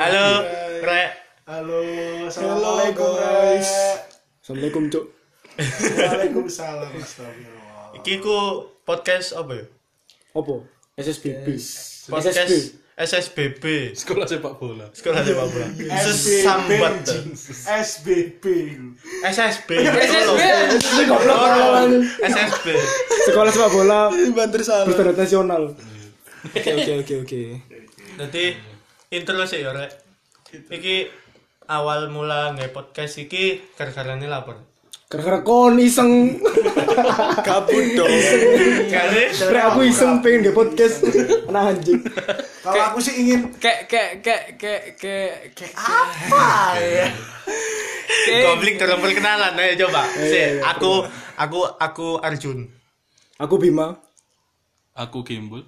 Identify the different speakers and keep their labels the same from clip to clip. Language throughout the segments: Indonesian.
Speaker 1: Iya.
Speaker 2: Assalamualaikum guys.
Speaker 3: Assalamualaikum cuk.
Speaker 2: Waalaikumsalam. Astagfirullah.
Speaker 4: Iki ku podcast apa ya?
Speaker 3: Apa? SSBB.
Speaker 4: Podcast
Speaker 3: SSB.
Speaker 4: SSBB.
Speaker 1: sekolah sepak bola
Speaker 4: Sekolah sepak bola.
Speaker 2: SBB.
Speaker 4: Sesambat. tuh.
Speaker 2: SBB.
Speaker 4: SSB.
Speaker 5: SSB.
Speaker 4: Tolong. SSB.
Speaker 3: Sekolah sepak bola
Speaker 1: banter salah
Speaker 3: berstandar nasional. Oke oke oke oke.
Speaker 4: Dadi intro sih ya rek. Iki awal mula nge podcast iki gara-garane lapor.
Speaker 3: Gara-gara kon iseng,
Speaker 1: kabut dong
Speaker 4: Kare
Speaker 3: Rek, aku iseng pengen nge podcast anak anjing.
Speaker 2: Kalau aku sih ingin
Speaker 5: Kayak kayak kayak kayak kayak kayak
Speaker 2: apa ya?
Speaker 4: gitu. goblik dalam perkenalan ayo coba.
Speaker 3: iya,
Speaker 4: Si, aku aku aku Arjun.
Speaker 3: Aku Bima.
Speaker 1: aku gimbal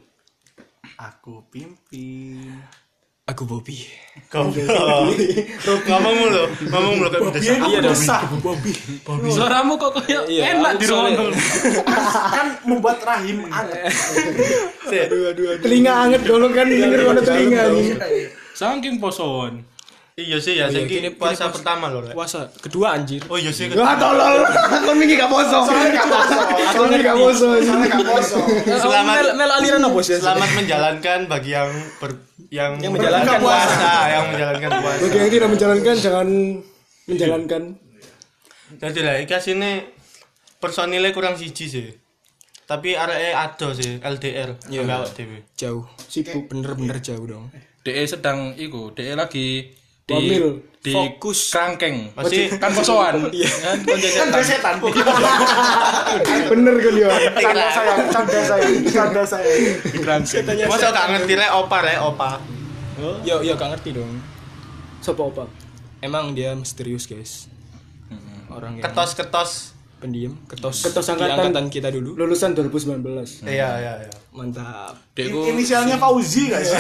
Speaker 2: Aku pimpin.
Speaker 1: aku Bobby
Speaker 4: Goblok. Ngomong mulu, ngomong mulu kayak
Speaker 2: Iya,
Speaker 4: berdesa.
Speaker 2: aku besar.
Speaker 5: suaramu kok
Speaker 4: Iya,
Speaker 5: kayak
Speaker 3: Iya.
Speaker 5: enak di ruang
Speaker 2: Kan membuat rahim
Speaker 5: Iya.
Speaker 2: anget.
Speaker 4: Si,
Speaker 3: Telinga anget dulu kan denger kono telinga.
Speaker 1: saking posoan
Speaker 4: Iya sih ya, sih ini
Speaker 5: gini-
Speaker 4: puasa pertama loh rek.
Speaker 5: puasa kedua anjir
Speaker 4: Oh iya sih.
Speaker 3: Wah tolol. Kon wingi gak poso. Kon wingi gak poso.
Speaker 2: Soalnya gak kosong.
Speaker 4: Selamat-
Speaker 5: Mel- mel aliran apa sih
Speaker 4: Selamat menjalankan bagi yang ber- yang,
Speaker 5: Yang menjalankan
Speaker 4: puasa, yang menjalankan puasa.
Speaker 3: Bagi yang tidak menjalankan jangan menjalankan.
Speaker 4: Jadi lah iki asine personilnya kurang siji sih. Tapi areke ado sih LDR
Speaker 5: Iya.
Speaker 4: ambil awak dhewe.
Speaker 5: jauh
Speaker 3: Sibuk.
Speaker 5: bener-bener jauh dong
Speaker 1: de sedang iku de lagi di
Speaker 3: Wamil.
Speaker 1: di
Speaker 5: Fokus.
Speaker 1: kerangkeng
Speaker 4: Masih
Speaker 1: kan posoan iya kan
Speaker 2: Kan
Speaker 1: konjanya
Speaker 2: setan.
Speaker 3: Bener kan ya.
Speaker 2: Canda saya, canda saya, canda saya.
Speaker 1: di kerangkeng
Speaker 4: Masa gak ngerti rek opa rek opa.
Speaker 5: Iya. yo yo gak ngerti dong
Speaker 3: Sopo apa?
Speaker 5: emang dia misterius guys orang yang
Speaker 4: Ketos-ketos.
Speaker 5: pendiam ketos
Speaker 3: Ketos
Speaker 5: di
Speaker 3: angkatan-
Speaker 5: angkatan kita dulu
Speaker 3: Lulusan 2019.
Speaker 4: Iya iya iya.
Speaker 5: mantap
Speaker 1: deku
Speaker 2: Inisialnya Fauzi guys.
Speaker 5: Iya.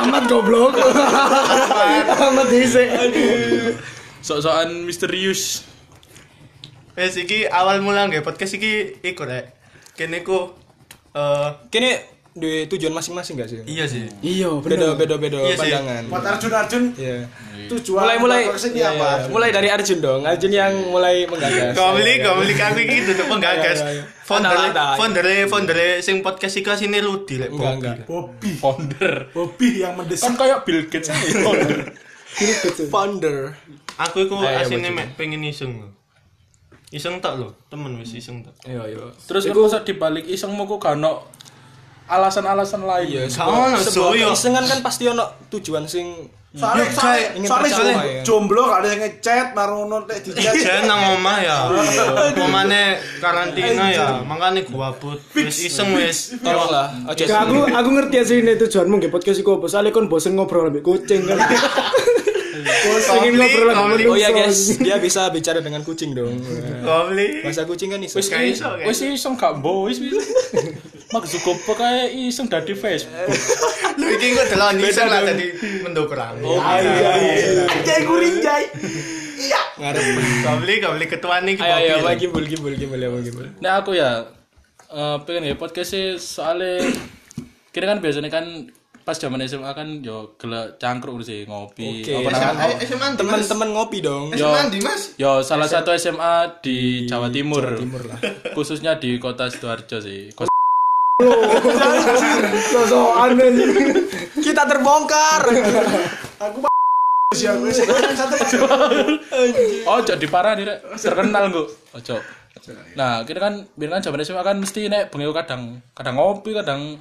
Speaker 3: Ahmad goblok. Ahmad dice.
Speaker 1: sok-sokan misterius
Speaker 4: Wes iki awal mula nggih podcast iki iku rek. Kene ku eh
Speaker 5: kini duwe tujuan masing-masing gak sih
Speaker 4: iya sih.
Speaker 3: Iya,
Speaker 5: beda
Speaker 3: bener.
Speaker 5: beda beda
Speaker 4: Iya sih.
Speaker 5: pandangan
Speaker 2: Buat Arjun Arjun
Speaker 5: Iya.
Speaker 2: tujuan
Speaker 5: mulai mulai
Speaker 2: podcast ini
Speaker 5: iya,
Speaker 2: apa?
Speaker 5: iya. mulai dari Arjun dong Arjun yang mulai menggagas
Speaker 4: Goblik, goblik aku iki duduk penggagas.
Speaker 5: Iya, iya, iya.
Speaker 4: Founder,
Speaker 5: Ada, ada.
Speaker 4: founder, founder sing podcast iki sini Rudi lek.
Speaker 5: enggak
Speaker 4: Bobby.
Speaker 5: enggak
Speaker 2: Bobby,
Speaker 1: founder
Speaker 2: Bobby yang mendesak.
Speaker 1: kan kayak Bill Gates aja, founder
Speaker 5: founder
Speaker 4: Aku iku
Speaker 5: Ayo,
Speaker 4: asine
Speaker 5: Bobby.
Speaker 4: mek pengen iseng. lho. Iseng tak lho, temen wis iseng tak.
Speaker 5: Iya, iya.
Speaker 1: terus kan masa dibalik isengmu kok gak ono alasan-alalan lain
Speaker 5: Iya,
Speaker 4: Gak ono
Speaker 5: sebuah
Speaker 4: suyo.
Speaker 5: keisengan kan pasti ono tujuan sing
Speaker 2: Soalnya soalnya
Speaker 5: ingin
Speaker 2: soalnya
Speaker 5: percaya,
Speaker 2: jom-
Speaker 5: ya.
Speaker 2: jomblo gak ada yang ngechat, marono teh dichat.
Speaker 4: Jan nang omah ya.
Speaker 5: Iya.
Speaker 4: Omane karantina ya, makane gua abut. Wis iseng wis.
Speaker 5: tolonglah aja
Speaker 3: Iya. Gak, aku aku ngerti asline tujuanmu nggih podcast iku apa. Soale kon bosen ngobrol ambek kucing kan. Pengen
Speaker 4: Goblik,
Speaker 3: ngobrol ambek
Speaker 4: goblik.
Speaker 3: manusia.
Speaker 5: oh iya guys dia bisa bicara dengan kucing dong
Speaker 4: Goblik.
Speaker 5: bahasa kucing kan iso
Speaker 1: Eh, Wis
Speaker 4: Gak iso, gak
Speaker 1: wis iseng gak mbo wis wis. Mark Zuckerberg kae iseng dadi
Speaker 5: Eh,
Speaker 1: Facebook.
Speaker 4: Lho iki kok delon iseng lah tadi mendokrak.
Speaker 5: Oh, iya,
Speaker 4: Iya.
Speaker 2: Anjay kurinjay. Iya.
Speaker 5: ngarep
Speaker 4: Goblik, goblik ketuane iki.
Speaker 5: ayo ayo
Speaker 4: Bobby.
Speaker 5: apa gimbul gimbul gimbul ya apa gimbul
Speaker 1: Nah aku ya eh pengen ya podcast sih soalnya kira kan biasanya kan pas zaman SMA kan yo gelek cangkruk sih ngopi
Speaker 5: Oke.
Speaker 1: apa namanya
Speaker 4: Ayo, SMA ndi, Eh, Mas?
Speaker 5: teman-teman ngopi dong
Speaker 1: Yo.
Speaker 4: SMA ndi, Mas?
Speaker 1: yo salah satu SMA di Jawa Timur,
Speaker 5: timur lah
Speaker 1: khususnya di kota sidoarjo sih Kos-
Speaker 3: Sosokan anjing.
Speaker 5: kita terbongkar
Speaker 2: Siapa sih? Satu
Speaker 1: oh cok di parah nih Rek. terkenal gua oh cok nah kira kan biar kan zaman SMA kan mesti nek bengi kadang kadang ngopi kadang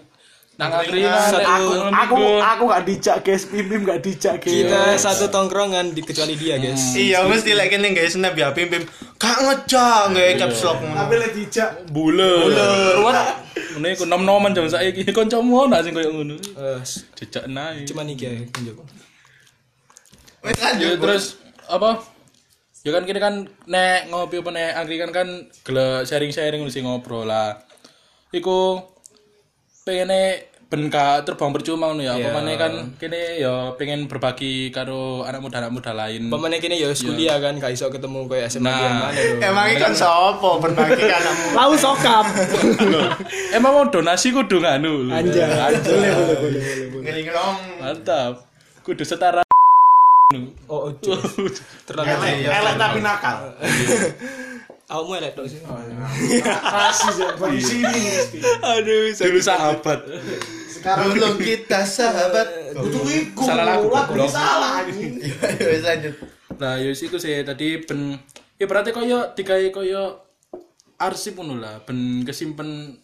Speaker 1: nang angkringan nek
Speaker 5: Aku-
Speaker 2: aku
Speaker 1: ngopi.
Speaker 2: aku gak dijak guys, Pim-Pim gak dijak guys.
Speaker 5: kita satu tongkrongan di kecuali dia guys
Speaker 4: Iya, mesti lek kene guys, snap ya Pim Pim. Gak ngejak nggak caps lock ngono.
Speaker 2: Tapi lagi dijak.
Speaker 1: Bule. Ruwet. Ngene iku nom-noman jam saiki kancamu ana sing koyo ngono.
Speaker 5: Eh,
Speaker 1: Jejak nae.
Speaker 5: cuman iki ya kunjuk.
Speaker 4: Wes lanjut.
Speaker 1: Ya
Speaker 5: Iya,
Speaker 1: terus apa? Ya kan kini kan nek ngopi apa nek angkringan kan gele sharing-sharing mesti ngobrol lah. Iku pengene ben gak terbang percuma ngono ya.
Speaker 5: Iya.
Speaker 1: Apa maneh kan kene ya pengen berbagi karo anak muda-anak muda lain. Iya.
Speaker 5: Pemane kene ya wis kuliah kan gak iso ketemu kayak SMA
Speaker 1: Nah.
Speaker 5: yang mana dong.
Speaker 4: Emang iki kan sapa berbagi kan kamu.
Speaker 3: Lau sokap.
Speaker 1: Emang mau donasi kudu nganu.
Speaker 3: Anjay. Boleh boleh boleh. boleh.
Speaker 4: Ngeri ngerong.
Speaker 1: Mantap. Kudu setara
Speaker 5: Oh, ojo.
Speaker 2: Elek, elek tapi nakal.
Speaker 5: Awakmu elek tok sih.
Speaker 2: Rasis ya, bang sini.
Speaker 1: Aduh, dulu sahabat.
Speaker 2: Sekarang
Speaker 6: belum kita sahabat
Speaker 2: butuh iku.
Speaker 1: Salah lagu,
Speaker 2: Lah,
Speaker 1: goblok.
Speaker 2: salah anjing.
Speaker 6: Yowes, lanjut
Speaker 1: Nah, yo sih sih tadi ben ya berarti koyo digawe koyo arsip ngono lah, ben kesimpen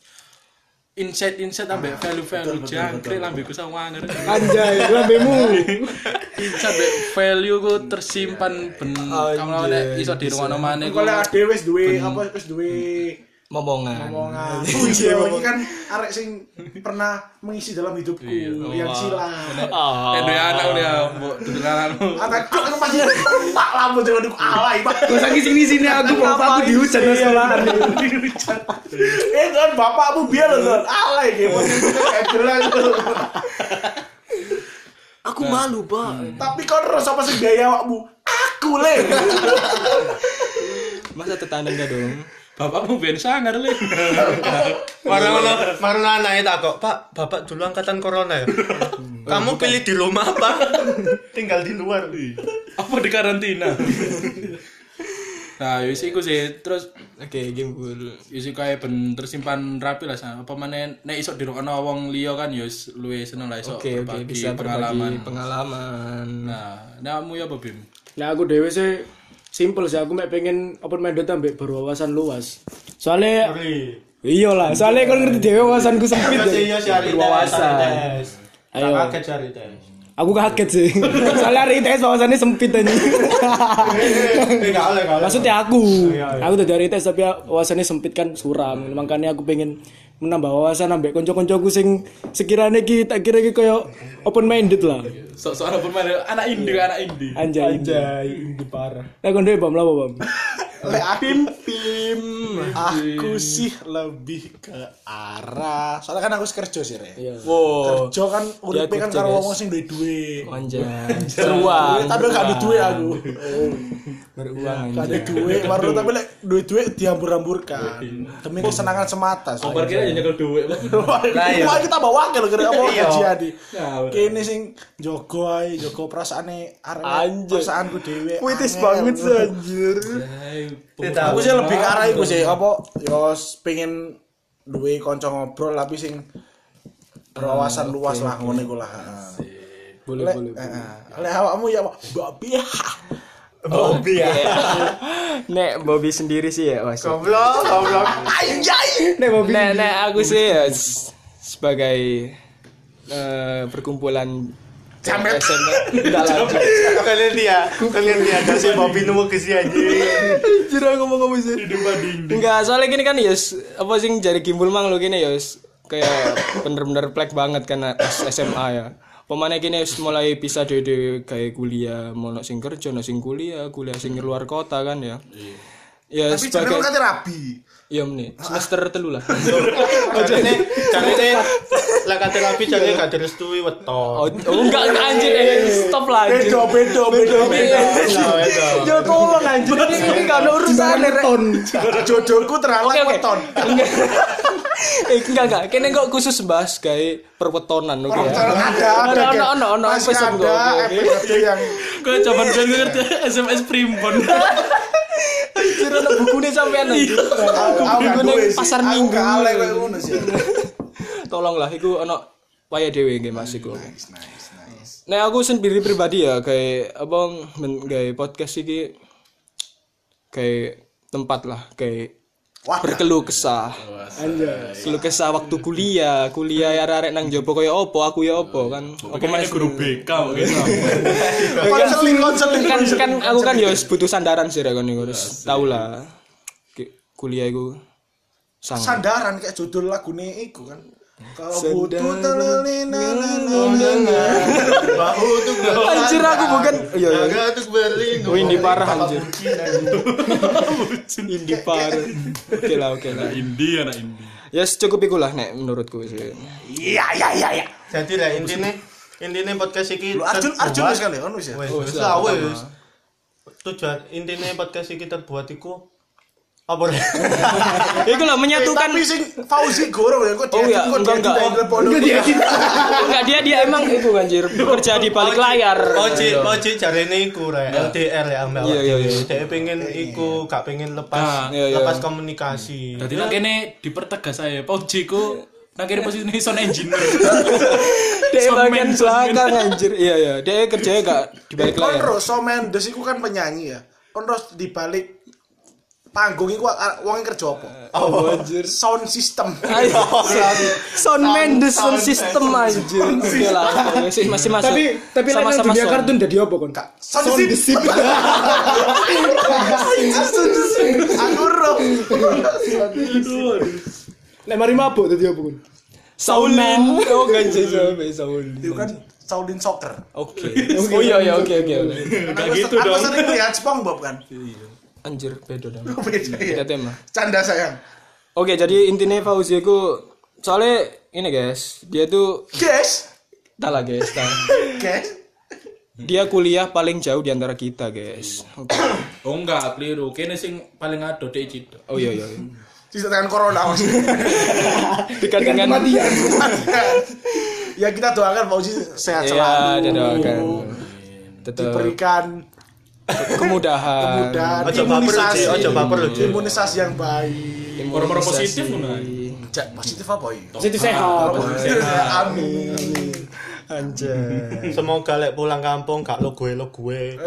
Speaker 1: insight-insight ambek value-value jangkrik lambeku sawangar.
Speaker 3: Anjay, lambemu.
Speaker 1: Insight ambek value ku tersimpan ben kamu nek iso dirungokno maneh ku.
Speaker 2: Kalau ade wis duwe apa wis duwe
Speaker 5: Momongan.
Speaker 2: omongan. Oh iya, ini kan arek sing pernah mengisi dalam hidupku
Speaker 3: Iya,
Speaker 2: yang silang.
Speaker 1: Eh duwe anak udah mbok tutulanmu.
Speaker 2: Anak kok Ah, aku masih tak lamun jawa duk alay, Pak.
Speaker 3: Iya. Kok saking sini-sini aku bapak aku dihujat mas
Speaker 2: Iya,
Speaker 3: sekolahan.
Speaker 2: Eh, Don, bapakmu biar loh, Don. Alay kayak posisinya kayak jelas loh.
Speaker 5: Aku
Speaker 3: Nah.
Speaker 5: malu, Pak.
Speaker 2: Tapi kau terus apa sih gaya awakmu? Aku le.
Speaker 5: Masa tetangga dong?
Speaker 1: Bapakmu ben sangar le.
Speaker 4: Marah-marah marah anaknya tak kok, Pak, bapak dulu angkatan corona ya. Kamu pilih di rumah apa? Tinggal di luar.
Speaker 1: Apa di karantina? Nah, yo sih iku sih terus
Speaker 5: Oke, game gue dulu.
Speaker 1: Isi kae ben tersimpan rapi lah Sam. apa meneh nek iso dirungokno wong liya kan ya wis luwih seneng lah iso
Speaker 5: Oke, oke, bisa berbagi pengalaman.
Speaker 1: Nah, nekmu ya apa Bim?
Speaker 3: Nah aku dewe sih simple sih aku mek pengen open minded ambek berwawasan luas. Soalnya iya lah, soalnya kon ngerti dewe wawasanku sempit. ya.
Speaker 4: Berwawasan.
Speaker 3: Ayo.
Speaker 4: Kaget cari teh.
Speaker 3: Aku kaget sih. soalnya hari ITS wawasannya sempit aja.
Speaker 4: Enggak oleh kalau.
Speaker 3: Maksudnya aku. Aku udah dari ITS tapi wawasannya sempit kan suram. Makanya aku pengen menambah wawasan ambek konco-koncoku sing sekiranya ki tak kira ki koyo open minded lah.
Speaker 1: Sok-sok apa meneh anak indie anak indie.
Speaker 3: Anjay.
Speaker 5: Anjay, ini parah.
Speaker 3: Lah kon dewe bam lah bam.
Speaker 2: Le pim pim. Aku sih lebih ke arah. Soalnya kan aku kerja sih, Re.
Speaker 5: Wow,
Speaker 2: Kerja kan urip
Speaker 5: Iya,
Speaker 2: kan
Speaker 5: kerja,
Speaker 2: karo
Speaker 5: guys.
Speaker 2: wong sing duwe duit.
Speaker 5: anjay. Beruang.
Speaker 2: Tapi gak ada duit aku.
Speaker 5: Beruang
Speaker 2: Oh. Iya, Gak ada
Speaker 5: anjay.
Speaker 2: duit, baru tapi lek duit-duit dihambur-hamburkan demi kesenangan semata. soalnya.
Speaker 1: Kompar kira ya nyekel dhuwit.
Speaker 2: Wah, Wah, kita bawa wakil kira apa gaji adi.
Speaker 1: Nah, bener.
Speaker 2: Kene sing jogo ae, jogo perasaane arek
Speaker 5: Anjir.
Speaker 2: perasaanku dhewe.
Speaker 5: Puitis
Speaker 2: Angel.
Speaker 5: banget sih, anjir.
Speaker 2: Aku sih lebih ke arah iku sih,
Speaker 5: iya.
Speaker 2: apa yo pengen duwe kanca ngobrol tapi sing
Speaker 5: Ah,
Speaker 2: berwawasan luas lah ngono iku lah. Boleh, boleh. Lek awakmu ya babi. Babi ya.
Speaker 5: Nek Bobby sendiri sih ya, Mas.
Speaker 4: Goblok, goblok.
Speaker 2: Anjay.
Speaker 3: Nek Bobby.
Speaker 5: Nek nek aku sih ya s- sebagai eh, perkumpulan eh,
Speaker 2: Jamet.
Speaker 5: SMA. Enggak lah.
Speaker 4: Kalian dia, kalian dia kasih Bobby nemu ke si anjing.
Speaker 5: Anjir aku mau ngomong sih. Enggak, soalnya gini kan yes, apa sih yang jari gimbul mang lo gini yes, kayak bener-bener plek banget kan pas SMA ya. Pemane gini yes, mulai bisa dede kayak kuliah, mau nak sing kerja, nak sing kuliah, kuliah sing luar kota kan ya. Ya
Speaker 2: Tapi jenenge
Speaker 5: sebagai
Speaker 2: kate rabi.
Speaker 5: iya nih semester telu lah.
Speaker 4: Carane, carane lah kata rapi carane gak direstui
Speaker 5: Oh,
Speaker 4: weton.
Speaker 5: oh, enggak enggak anjir eh, stop lah anjir.
Speaker 2: Bedo bedo bedo bedo.
Speaker 4: Lah, wedok.
Speaker 5: Ya tolong anjir ini ini gak ada urusan Rek.
Speaker 2: Jodohku
Speaker 5: Oke,
Speaker 2: teralang
Speaker 5: oke.
Speaker 2: weton.
Speaker 5: Enggak. Eh enggak enggak, kene kok khusus bahas kayak perwetonan oke ya.
Speaker 2: Perwetonan ada, ada,
Speaker 5: Ono, ono,
Speaker 2: Ken.
Speaker 5: ono, ono,
Speaker 2: Masih
Speaker 5: episode
Speaker 2: ada
Speaker 5: gua, oke, oke.
Speaker 2: episode yang
Speaker 1: Gue coba ben ngerti SMS primbon.
Speaker 5: Anjir ono bukune sampean
Speaker 2: Iya.
Speaker 5: anjir.
Speaker 2: aku gak
Speaker 5: bingung yang
Speaker 2: duwe sih.
Speaker 5: pasar
Speaker 2: Aku
Speaker 5: minggu.
Speaker 2: gak alay kayak ngono sih.
Speaker 5: Tolonglah iku ono waya dhewe nggih Mas iku. Nah aku sendiri pribadi ya kayak abang men- kayak podcast iki kayak tempat lah kayak
Speaker 2: Wah,
Speaker 5: berkeluh kesah. Keluh kesah waktu kuliah, kuliah ya arek nang jopo kaya opo, aku ya opo kan. Apa
Speaker 1: Pokoknya
Speaker 5: mana
Speaker 1: ini guru BK gitu.
Speaker 2: konseling konseling
Speaker 5: kan kan aku kan ya wis butuh sandaran sih rek niku terus tau lah Ki- kuliah iku sangat
Speaker 2: sandaran kayak judul lagune iku kan. Kalau
Speaker 5: Sandaran.
Speaker 2: butuh telenina
Speaker 6: bahu tuh
Speaker 5: anjir aku bukan iya iya
Speaker 6: Naga tuh berlindung
Speaker 5: Oh, ini parah,
Speaker 6: Papa
Speaker 5: anjir.
Speaker 6: kucing,
Speaker 5: indie par oke lah oke lah
Speaker 1: Indie anak indie.
Speaker 5: ya cukup iku lah nek menurutku sih
Speaker 2: Iya iya iya iya.
Speaker 4: Jadi lah intinya intinya podcast ini
Speaker 2: Lu Arjun
Speaker 4: terbuat-
Speaker 2: Arjun wis kali ono wis
Speaker 5: Oh,
Speaker 2: ya.
Speaker 4: Wes, wes lah wes. Tujuan intinya podcast ini terbuat iku Apa?
Speaker 5: Iku lah menyatukan
Speaker 2: tapi sing Fauzi gorong ya kok
Speaker 5: Oh, iya,
Speaker 2: kok ya?
Speaker 5: enggak, enggak.
Speaker 2: dia
Speaker 5: enggak dia dia emang itu anjir bekerja di balik layar.
Speaker 4: Oji, oji cari ini iku rek LDR ya ambek.
Speaker 5: Iya, iya, iya.
Speaker 4: Dia pengen iku, gak pengen lepas,
Speaker 1: Nah,
Speaker 5: iya, iya.
Speaker 4: lepas komunikasi.
Speaker 1: Dadi nang kene dipertegas ae, Pauji ku nang kene posisine sound engineer.
Speaker 5: Dia
Speaker 1: Soundman,
Speaker 5: bagian
Speaker 1: soundman.
Speaker 5: belakang anjir. Iya iya, dia kerjanya enggak di balik layar.
Speaker 2: Konro So Mendes iku kan penyanyi ya. Konro di balik panggung iku a- wong kerja apa?
Speaker 5: Oh, anjir.
Speaker 2: Sound system.
Speaker 5: Ayo. Soundman the sound system anjir. Oke lah. Masih masih masuk.
Speaker 3: Tapi tapi lain nang dunia
Speaker 5: sound.
Speaker 3: kartun jadi apa kon?
Speaker 2: Sound system. Aku ro.
Speaker 3: Lek mari mabuk jadi apa kon?
Speaker 5: Soundman. Oh, enggak jadi soundman. soundman.
Speaker 2: Itu kan Shaolin Soccer.
Speaker 5: Oke. Oh iya iya oke oke. oke.
Speaker 2: Enggak gitu dong. Aku sering lihat SpongeBob kan.
Speaker 5: Anjir, beda dong.
Speaker 2: Beda ya.
Speaker 5: Beda tema.
Speaker 2: Canda sayang.
Speaker 5: Oke, jadi intinya Fauzi itu soalnya ini guys, dia tuh
Speaker 2: Guys,
Speaker 5: salah guys. salah.
Speaker 2: guys.
Speaker 5: Dia kuliah paling jauh di antara kita, guys. Oke.
Speaker 1: Oh enggak, keliru. Kene sing paling ado dek Cito.
Speaker 5: Oh iya iya. iya.
Speaker 2: Sisa tangan corona Mas.
Speaker 5: Dekat dengan
Speaker 2: ya kita doakan Fauzi sehat
Speaker 5: Iya,
Speaker 2: selalu.
Speaker 5: didoakan. Tetap
Speaker 2: Diberikan
Speaker 5: kemudahan.
Speaker 2: kemudahan,
Speaker 4: Ojo baper lho, Ji. Ojo baper lho, Ji.
Speaker 2: imunisasi yang baik.
Speaker 1: Orang-orang positif ngono.
Speaker 2: Cak, positif apa ya?
Speaker 3: Positif sehat.
Speaker 2: Amin. Anjir.
Speaker 4: Semoga lek pulang kampung gak lo gue lo gue.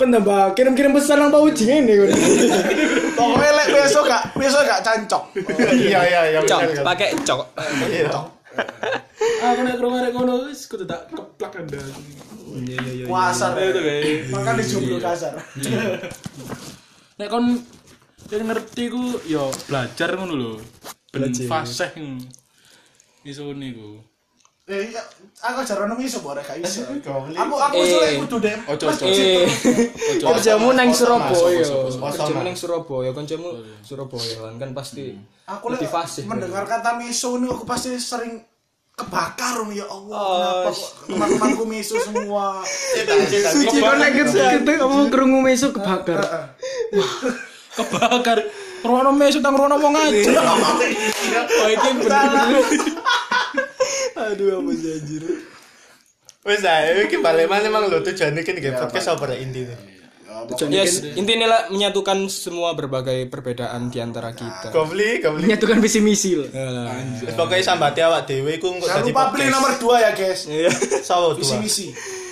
Speaker 3: Kon tambah Kan kirim-kirim pesan nang Pauji ini kon.
Speaker 2: Pokoknya lek besok gak, besok gak cancok.
Speaker 4: Iya iya iya.
Speaker 5: Cok,
Speaker 4: bener, kan?
Speaker 5: pakai cok.
Speaker 4: Iya.
Speaker 1: Aku nek krungu arek ngono wis kudu tak keplak anda.
Speaker 4: iya.
Speaker 2: Puasa.
Speaker 1: Itu kayak
Speaker 2: Makan di jomblo kasar.
Speaker 1: nek kon yen ngerti ku yo belajar ngono lho. Ben fasih ngono. Iso niku.
Speaker 2: Eh, iya, aku jarang nemu iso borek gak iso. Aku aku iso
Speaker 5: Eh.
Speaker 2: lek kudu deh.
Speaker 1: Ojo ojo.
Speaker 5: Eh, kerjamu nang Surabaya.
Speaker 4: Mas,
Speaker 5: Kerjamu
Speaker 4: Mas.
Speaker 5: nang Surabaya, kancamu Surabaya lan kan pasti
Speaker 2: Aku lek
Speaker 5: motivasi.
Speaker 2: mendengar kata miso ini aku pasti sering kebakar Om. ya Allah.
Speaker 4: Oh,
Speaker 2: Kenapa kok teman-temanku miso semua?
Speaker 3: Suci kon lek ketemu kamu kerungu mesu kebakar.
Speaker 1: Kebakar. Ruwono mesut nang ruwono wong aja. Oh iki bener.
Speaker 4: Wis ae iki balik mana emang lo tujuane iki nggih podcast apa rek intine.
Speaker 5: Yes, intinya lah menyatukan semua berbagai perbedaan di antara kita. Eh,
Speaker 4: Gobli,
Speaker 5: Iya.
Speaker 4: gobli.
Speaker 3: Menyatukan visi misi lho.
Speaker 5: Ah.
Speaker 4: Wis pokoke sambate awak dhewe iku engko
Speaker 2: Jangan
Speaker 4: dadi
Speaker 2: lupa beli nomor 2 ya, guys.
Speaker 4: Iya. sawo
Speaker 2: Visi
Speaker 4: dua.
Speaker 2: misi.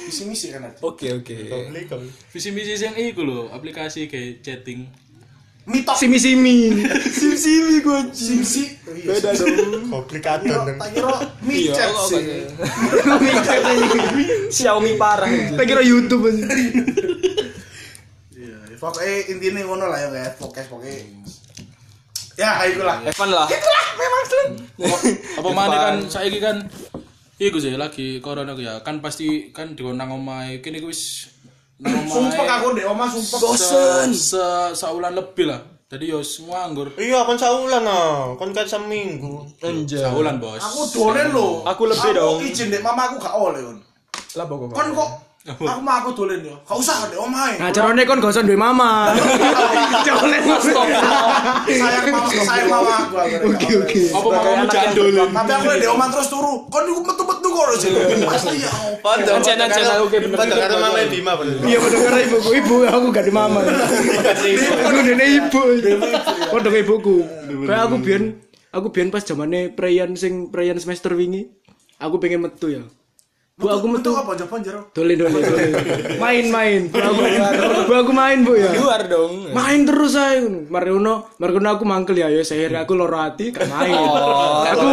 Speaker 2: Visi misi kan ada.
Speaker 5: Oke, oke.
Speaker 4: Gobli, gobli.
Speaker 1: Visi misi sing iku lho, aplikasi kayak chatting.
Speaker 2: Mitok
Speaker 3: Simi simi.
Speaker 2: Simsi beda dong.
Speaker 4: Gobli
Speaker 2: Yo,
Speaker 4: kadon.
Speaker 2: tak kira micet sih.
Speaker 5: Xiaomi parah.
Speaker 3: Tak kira YouTube aja.
Speaker 2: Iya, Pokoknya intinya ngono lah ya guys, pokoknya pokoknya. Ya, ayo lah.
Speaker 5: Evan lah.
Speaker 1: Apa mana kan saiki kan iku sih lagi corona ku ya. Kan pasti kan dikon nang omahe kene ku wis nang
Speaker 2: Sumpah
Speaker 1: omahe.
Speaker 2: aku deh, oma sumpah.
Speaker 1: Bosen. Se saulan lebih lah. Jadi yo nganggur.
Speaker 4: Iya, kon saulan ah. Kon kan seminggu.
Speaker 5: Anjay.
Speaker 1: Saulan, Bos.
Speaker 2: Aku dolen lo.
Speaker 5: Aku lebih dong.
Speaker 2: Izin deh, mama aku gak oleh kon.
Speaker 5: Lah pokoknya.
Speaker 2: Kon kok aku mah aku dolen yo. Gak usah deh, oma. eh.
Speaker 3: Nah, carane kon gak usah duwe mama. Jolek mas
Speaker 2: Sayang mama, sayang mama aku. Oke oke.
Speaker 1: Apa mamamu jandul?
Speaker 2: Tapi aku deh, oma terus turu. Kon niku metu-metu kok lho sih. Pasti ya.
Speaker 4: Padha
Speaker 5: Encen, encen, oke, bener.
Speaker 4: Padha karo Mama Bima bener.
Speaker 3: Iya mendengar ibuku, ibu aku gak ada mama. Aku dene ibu. Kodok ibuku. Kayak aku biyen aku biyen pas zamane preyan sing preyan semester wingi, aku pengen metu ya. Bu aku metu
Speaker 2: apa Jepang jero?
Speaker 3: Dolen dolen dolen. Main-main. Bu aku, bu aku main bu ya.
Speaker 5: Luar dong.
Speaker 3: Main terus saya Mariono, Mariono aku mangkel ya, ya saya aku loro hati gak main. aku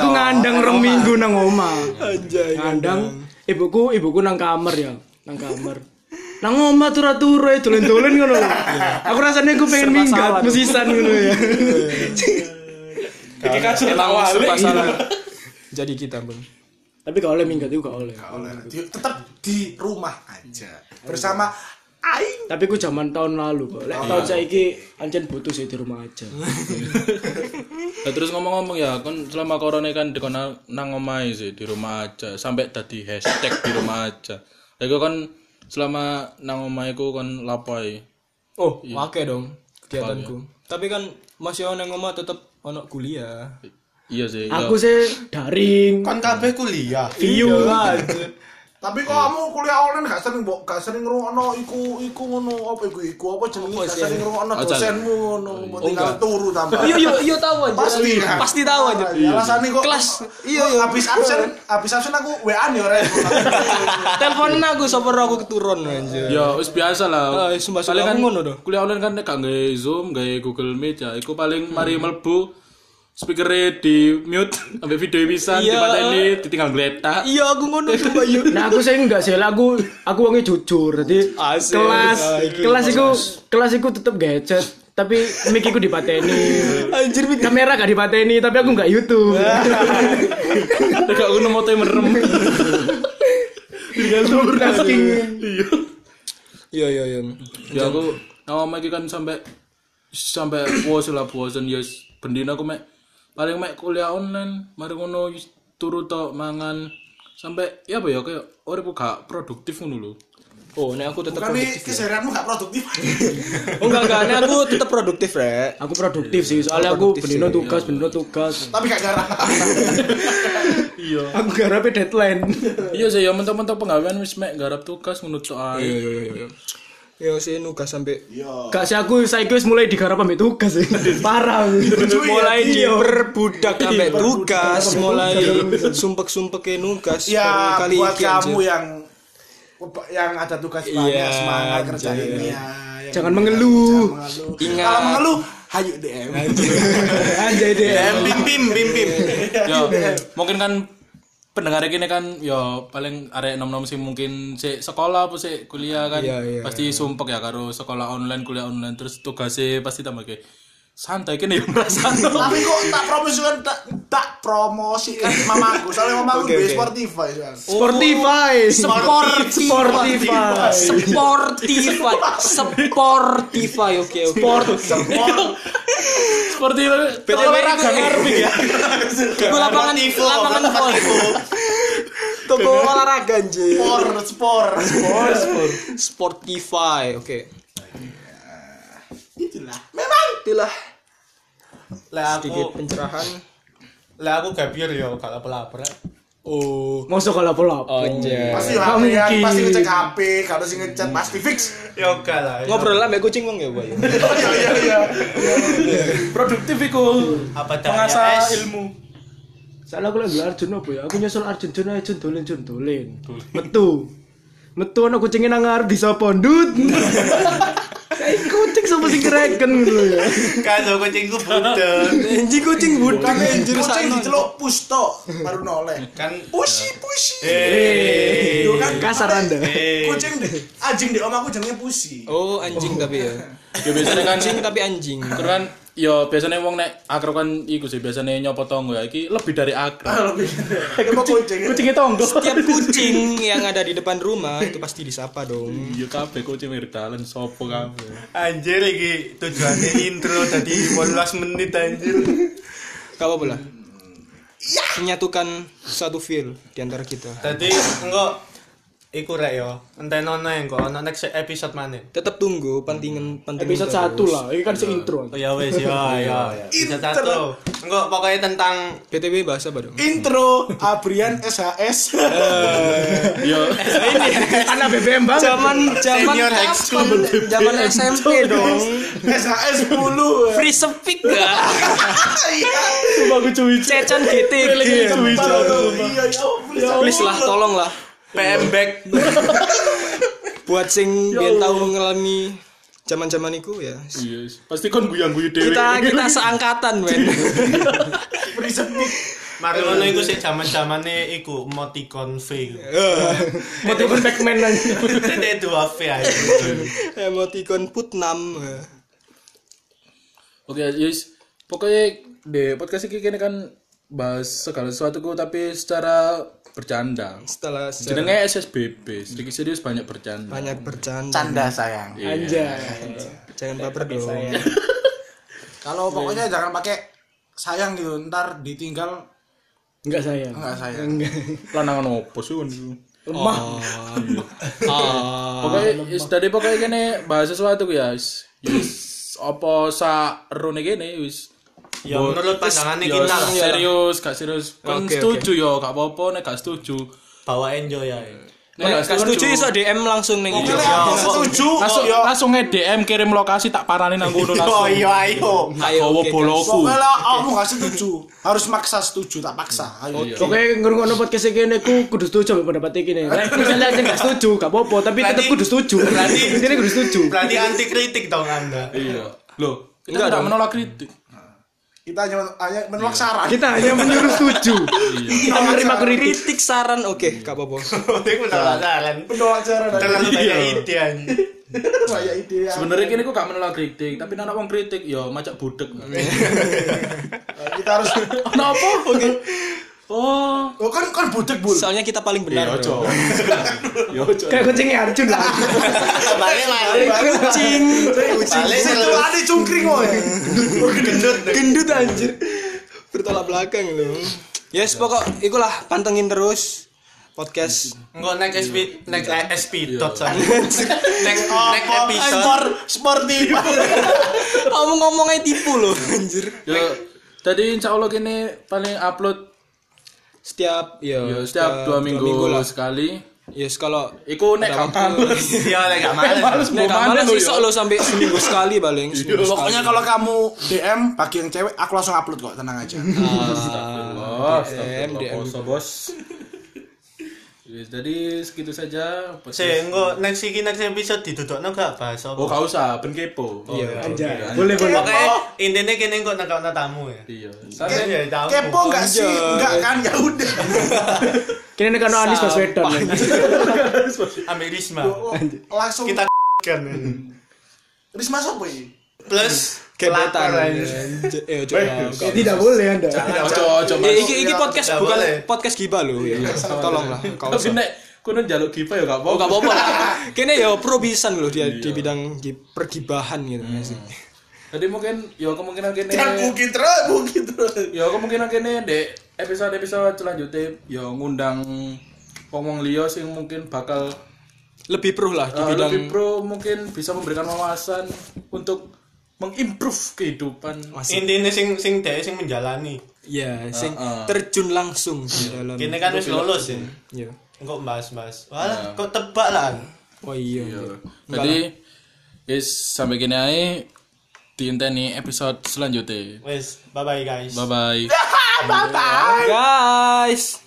Speaker 3: aku ngandang rong minggu nang oma. Anjay. Ngandang ibuku, ibuku nang kamar ya, nang kamar. Nang oma turu-turu ya dolen-dolen ngono. lho. Aku rasanya aku pengen minggat mesisan ngono ya.
Speaker 1: Iki kasur tak
Speaker 5: Emang
Speaker 1: walik.
Speaker 5: serba salah. Jadi kita bang.
Speaker 3: Tapi gak oleh minggat itu gak oleh.
Speaker 2: Di- tetap di rumah aja bersama aing
Speaker 3: Tapi ku zaman tahun lalu, Pak. Lek tahun saiki ancen butuh sih di rumah aja.
Speaker 1: Nah, terus ngomong-ngomong ya, kan selama corona kan dikon nang- nang omahe sih di rumah aja sampai tadi hashtag di rumah aja. Lha iku kan selama nang omahe ku kon lapoi.
Speaker 5: Oh, pakai dong. kegiatanku. Tapi kan masih ono nang omah tetep ono kuliah.
Speaker 1: Iya sih.
Speaker 3: Aku sih daring.
Speaker 4: Kon kabeh kuliah.
Speaker 3: View lah.
Speaker 2: Tapi kok kamu kuliah online gak sering mbok gak sering ngrungokno iku iku ngono apa iku iku apa jenenge gak sering ngrungokno
Speaker 1: Oh,
Speaker 2: dosenmu ngono mbok tinggal
Speaker 1: enggak.
Speaker 2: turu tambah.
Speaker 5: Yo yo yo Iya, tahu aja.
Speaker 2: Pasti kan?
Speaker 5: Pasti tahu aja.
Speaker 2: Ya, Alasannya kok
Speaker 5: Kelas.
Speaker 2: Iya iya habis absen habis absen aku WA nih ora.
Speaker 5: Teleponan aku sopir aku keturun anjir.
Speaker 1: Ya, wis biasa lah.
Speaker 5: Eh, sumpah,
Speaker 1: Paling
Speaker 5: sumpah,
Speaker 1: kan
Speaker 5: aku ngono dah.
Speaker 1: kuliah online kan nek gak nggae Zoom, nggae Google Meet ya. Iku paling
Speaker 5: Hmm.
Speaker 1: mari mlebu speakernya di mute sampai video bisa
Speaker 5: Iya.
Speaker 1: dipateni ditinggal gletak.
Speaker 5: Iya aku ngono coba yo.
Speaker 3: Nah aku sih enggak sih, lah, aku aku wongnya jujur. Jadi
Speaker 5: Asik.
Speaker 3: kelas
Speaker 5: Ah,
Speaker 3: kelas iku kelas iku tetep gadget, tapi mic iku dipateni.
Speaker 5: Anjir mikir
Speaker 3: Kamera gak dipateni, tapi aku gak YouTube.
Speaker 1: Nek gak ngono mote merem.
Speaker 3: Multitasking.
Speaker 5: Iya iya iya.
Speaker 1: Ya aku awam iki kan sampai sampai puas lah puasan ya bendina aku mek paling mek kuliah online mari ngono yus turu tok mangan sampai ya apa ya kayak uripku gak produktif ngono lho.
Speaker 5: Oh, nek aku tetep
Speaker 2: Tapi keseharianmu gak produktif.
Speaker 5: Oh enggak enggak, nek aku tetep produktif rek.
Speaker 3: Aku produktif sih, iya. soalnya aku benino tugas, benino tugas.
Speaker 2: Tapi gak gara.
Speaker 3: Aku garape deadline.
Speaker 1: Iya sih ya mentok-mentok penggawean wis mek garap tugas ngono tok ae.
Speaker 5: Iya, Yo Iya, sih nugas sampai
Speaker 3: Gak sih aku saiki wis mulai digarap ambek tugas sih. Parah.
Speaker 2: Iya,
Speaker 3: iya,
Speaker 5: mulai diperbudak sampai tugas mulai sumpek sumpek nugas
Speaker 2: Ya
Speaker 5: baru
Speaker 2: buat
Speaker 5: iki, anjir.
Speaker 2: kamu yang yang ada tugas banyak
Speaker 5: Iya,
Speaker 2: semangat kerjain ya.
Speaker 5: anjir.
Speaker 2: Yang
Speaker 3: Jangan mengeluh.
Speaker 2: mengeluh.
Speaker 5: Ingat.
Speaker 2: Kalau mengeluh, hayu DM.
Speaker 3: Anjay deh.
Speaker 4: Bim bim bim bim.
Speaker 1: Ya
Speaker 5: Iya.
Speaker 1: mungkin kan pendengar ini kan ya paling arek nom-nom sih mungkin sik sekolah apa sik kuliah kan
Speaker 5: Iya, iya,
Speaker 1: pasti sumpek ya karo sekolah online kuliah online terus tugasnya pasti tambah kayak santai kene ya, yang merasa
Speaker 2: Tapi kok tak promosikan tak tak promosikan mamaku. Soalnya mamaku
Speaker 5: Oke,
Speaker 2: di
Speaker 5: oke.
Speaker 2: Spotify soalnya.
Speaker 3: Sportify. Sportify.
Speaker 5: Sportify Sportify oke oke
Speaker 1: seperti
Speaker 5: BTW Itu lapangan lapangan pol Toko olahraga anjir
Speaker 2: Spor, spor.
Speaker 5: Sportify oke
Speaker 2: Itulah. Memang
Speaker 5: itulah
Speaker 4: Lah
Speaker 5: sedikit
Speaker 4: aku
Speaker 5: pencerahan
Speaker 4: lah aku gabir yo gak lapar-lapar. rek.
Speaker 5: oh
Speaker 3: Mosok kalau pola.
Speaker 5: anjir
Speaker 2: pasti
Speaker 3: Nggak
Speaker 2: HP ya,
Speaker 3: mungkin.
Speaker 2: pasti ngecek HP, kalau sih ngecek pasti fix.
Speaker 4: Yo gak lah. yo.
Speaker 5: ngobrol lah mbak kucing wong ya boy
Speaker 2: Iya iya iya.
Speaker 1: produktif iku
Speaker 4: apa Eh, daya
Speaker 1: mengasah
Speaker 4: es.
Speaker 1: ilmu
Speaker 3: Soalnya aku lagi Arjun apa ya? Aku nyusul Arjun, Jun ayo Jun dolen, Jun dolen. Metu. Metu ana kucingnya nang ngarep bisa pondut. Kayak kucing sama sing kereken gitu ya.
Speaker 4: Kalau kucingku budek.
Speaker 5: anjir kucing budak anjir
Speaker 2: Kan Kucing
Speaker 5: sana
Speaker 2: diceluk pusto baru noleh.
Speaker 4: Kan
Speaker 2: Pushi pushi.
Speaker 4: eh
Speaker 2: Itu kan
Speaker 3: Kasar Anda.
Speaker 2: Kucing di anjing di omaku jenenge pusi.
Speaker 5: oh anjing tapi ya
Speaker 1: ya biasanya kan
Speaker 5: anjing tapi anjing
Speaker 1: Terus kan ya biasanya wong nek akrab kan iku sih biasanya nyopo tonggo ya iki lebih dari akrab
Speaker 2: Emang kucing.
Speaker 3: Kucingnya tonggo.
Speaker 5: Tiap kucing yang ada di depan rumah itu pasti disapa dong.
Speaker 1: iya kabeh kucing wirdalan sopo kabeh
Speaker 4: anjir iki tujuannya intro tadi 15 menit anjir.
Speaker 5: Gak apa-apa lah.
Speaker 3: Ya.
Speaker 5: Menyatukan satu feel di antara kita.
Speaker 4: Tadi engko iku rek yo. Enteno nang engko ono next episode maneh.
Speaker 5: Tetap tunggu pentingan pentingan.
Speaker 3: Episode
Speaker 5: terus.
Speaker 3: satu lah, ini kan si intro.
Speaker 4: Oh ya wes ya ya. Bisa satu. Engko pokoknya tentang
Speaker 5: BTW bahasa apa dong?
Speaker 2: Intro Abrian SHS. Eh.
Speaker 1: ya
Speaker 3: Anak BBM banget.
Speaker 5: Zaman zaman
Speaker 4: Senior high
Speaker 5: kapan? Zaman SMP dong.
Speaker 2: SHS 10.
Speaker 5: Free speak gak?
Speaker 3: Sumpah aku cuy.
Speaker 5: Cecan gitu.
Speaker 2: Iya,
Speaker 5: GTG.
Speaker 2: ya Allah.
Speaker 5: Please lah, tolong lah.
Speaker 4: PM back.
Speaker 5: Buat sing
Speaker 3: Ya
Speaker 5: biar tahu ngelami zaman-zaman itu ya.
Speaker 1: iya pasti kon guyang-guyu dhewe
Speaker 5: Kita kita seangkatan, men.
Speaker 2: Free speak.
Speaker 4: Mari ngono iku sik jaman-jamane iku emoticon V.
Speaker 3: Mau telepon Pacman aja.
Speaker 4: Tete dua V aja.
Speaker 5: Emoticon Putnam. ya.
Speaker 1: Oke, yes. Pokoknya di podcast ini kini kan bahas segala sesuatu ku, tapi secara bercanda.
Speaker 5: Setelah secara
Speaker 1: Jenenge SSBB, sedikit serius banyak bercanda.
Speaker 5: banyak bercanda.
Speaker 2: Canda sayang.
Speaker 3: Anjay.
Speaker 5: Jangan baper dong.
Speaker 2: Kalau pokoknya jangan pakai sayang gitu, ntar ditinggal
Speaker 3: Enggak saya.
Speaker 2: nggak sayang.
Speaker 1: Lanangan opo sih Oh, iya. kon iku?
Speaker 3: Lemah.
Speaker 5: Ah.
Speaker 1: Pokoknya yes, tadi pokoknya kini bahas sesuatu ku, ya. Yes. apa sak rune kene wis
Speaker 4: Ya menurut pandangannya
Speaker 1: Ya,
Speaker 4: kita lah.
Speaker 1: serius, gak serius. Kan
Speaker 5: Oke,
Speaker 1: setuju ya, gak apa-apa nek gak setuju.
Speaker 4: Bawa enjoy ya.
Speaker 1: Nek
Speaker 5: Nek gak setuju iso DM langsung ning
Speaker 2: Oke, lah, aku setuju. Iya.
Speaker 1: langsung
Speaker 2: Yo,
Speaker 1: langsung nge-DM kirim lokasi tak parani nang
Speaker 4: Oh
Speaker 1: kono langsung.
Speaker 4: iya ayo.
Speaker 1: Tak gawa
Speaker 5: oke,
Speaker 1: boloku.
Speaker 2: Pokoknya lah, aku gak setuju. Harus maksa setuju, tak paksa. Ayo.
Speaker 3: Oke, ngurungokno podcast iki kene ku kudu setuju ambek pendapat iki kene. Nek misalnya aja gak setuju, gak apa-apa, tapi tetep
Speaker 4: Berarti-
Speaker 3: kudu setuju.
Speaker 4: berarti-
Speaker 3: Intinya kudu setuju.
Speaker 4: Berarti anti kritik dong Anda.
Speaker 1: Iya. Loh, kita enggak menolak kritik.
Speaker 2: Kita hanya hanya menolak saran.
Speaker 3: Kita hanya menyuruh setuju. Kita menerima kritik.
Speaker 5: kritik saran oke gak apa-apa
Speaker 4: Ini penasaran.
Speaker 2: Menolak saran.
Speaker 4: Terlalu banyak ide anjing.
Speaker 2: Kayak ide ya.
Speaker 1: Sebenarnya kini kok gak menolak kritik, tapi nek ana wong kritik ya macak budek.
Speaker 2: Nah, Kita harus.
Speaker 1: Kenapa? Oke. Oh,
Speaker 2: Oh kan kan budek bul.
Speaker 5: soalnya kita paling
Speaker 4: Iya,
Speaker 5: benar bro.
Speaker 3: Kayak kucingnya Arjun lah.
Speaker 4: Balik balik.
Speaker 5: kucing
Speaker 4: Balik
Speaker 2: Itu
Speaker 4: terlalu
Speaker 2: ada cungkring woy.
Speaker 4: gendut.
Speaker 5: gendut anjir bertolak belakang lu yes pokok ikulah pantengin terus podcast
Speaker 4: Enggak naik SP, naik SP dot sorry. Naik naik
Speaker 2: Spor
Speaker 4: episode.
Speaker 2: sportif.
Speaker 5: kamu ngomongnya tipu loh anjir
Speaker 1: ya jadi insya Allah kini paling upload
Speaker 5: setiap ya,
Speaker 1: ya, setiap dua minggu,
Speaker 5: lah
Speaker 1: sekali.
Speaker 5: yes kalau
Speaker 1: Iku nek gak males.
Speaker 4: Iya lek gak males.
Speaker 5: Nek gak malas
Speaker 1: ya.
Speaker 5: iso lo sampai seminggu sekali paling.
Speaker 4: Iya.
Speaker 2: Iya,
Speaker 5: Seminggu sekali.
Speaker 2: Pokoknya kalau kamu DM bagi yang cewek, aku langsung upload kok, tenang aja.
Speaker 1: Astagfirullah, Oh, astagfirullah, bos, bos. Yes, Jadi segitu saja. podcast.
Speaker 4: Sih, engko next iki next episode didudukno gak bahas apa.
Speaker 1: Oh, gak usah, ben kepo. Iya.
Speaker 3: Anjay. Boleh, boleh.
Speaker 4: Oke,
Speaker 2: iya.
Speaker 4: intinya kene engko nekakno tamu ya.
Speaker 1: Iya.
Speaker 4: Kan ya tamu.
Speaker 2: Kepo nggak sih? Nggak kan? Ya udah.
Speaker 3: Kini nek ono Anies Baswedan.
Speaker 4: Ambil Risma.
Speaker 2: Oh, Langsung.
Speaker 4: Kita kan.
Speaker 2: Risma sopo ini?
Speaker 4: Plus
Speaker 5: gebetan.
Speaker 4: pelakor, anjing.
Speaker 5: Eh coba.
Speaker 3: Tidak boleh Anda.
Speaker 1: Ojo, ojo,
Speaker 5: Ya,
Speaker 1: Mas.
Speaker 5: iki iki podcast
Speaker 4: Nggak
Speaker 5: bukan
Speaker 4: boleh.
Speaker 5: podcast gibah lo ya. Tolonglah kau.
Speaker 1: Tapi nek kono njaluk gipa ya gak
Speaker 5: Oh gak
Speaker 1: apa-apa.
Speaker 5: apa-apa. Kene ya pro pisan lo dia di bidang gi- pergibahan gitu sih.
Speaker 1: Jadi mungkin ya kemungkinan kene
Speaker 2: Mungkin terus, mungkin terus.
Speaker 1: ya kemungkinan kene dek episode-episode selanjutnya ya ngundang wong-wong liya sing mungkin bakal
Speaker 5: Lebih pro lah di
Speaker 1: eh,
Speaker 5: bidang
Speaker 1: lebih pro mungkin bisa memberikan wawasan untuk mengimprove kehidupan.
Speaker 5: Asik.
Speaker 4: Intinya sing sing dhek sing menjalani.
Speaker 5: ya sing terjun langsung di dalam.
Speaker 4: Kene kan wis lulus ya.
Speaker 5: Ya.
Speaker 4: Engko bahas-bahas. Walah, kok tebak lah.
Speaker 5: Oh iya.
Speaker 1: Jadi guys sampai gini aja diinteni episode selanjutnya.
Speaker 4: Wes, bye bye guys.
Speaker 1: Bye bye.
Speaker 5: Guys.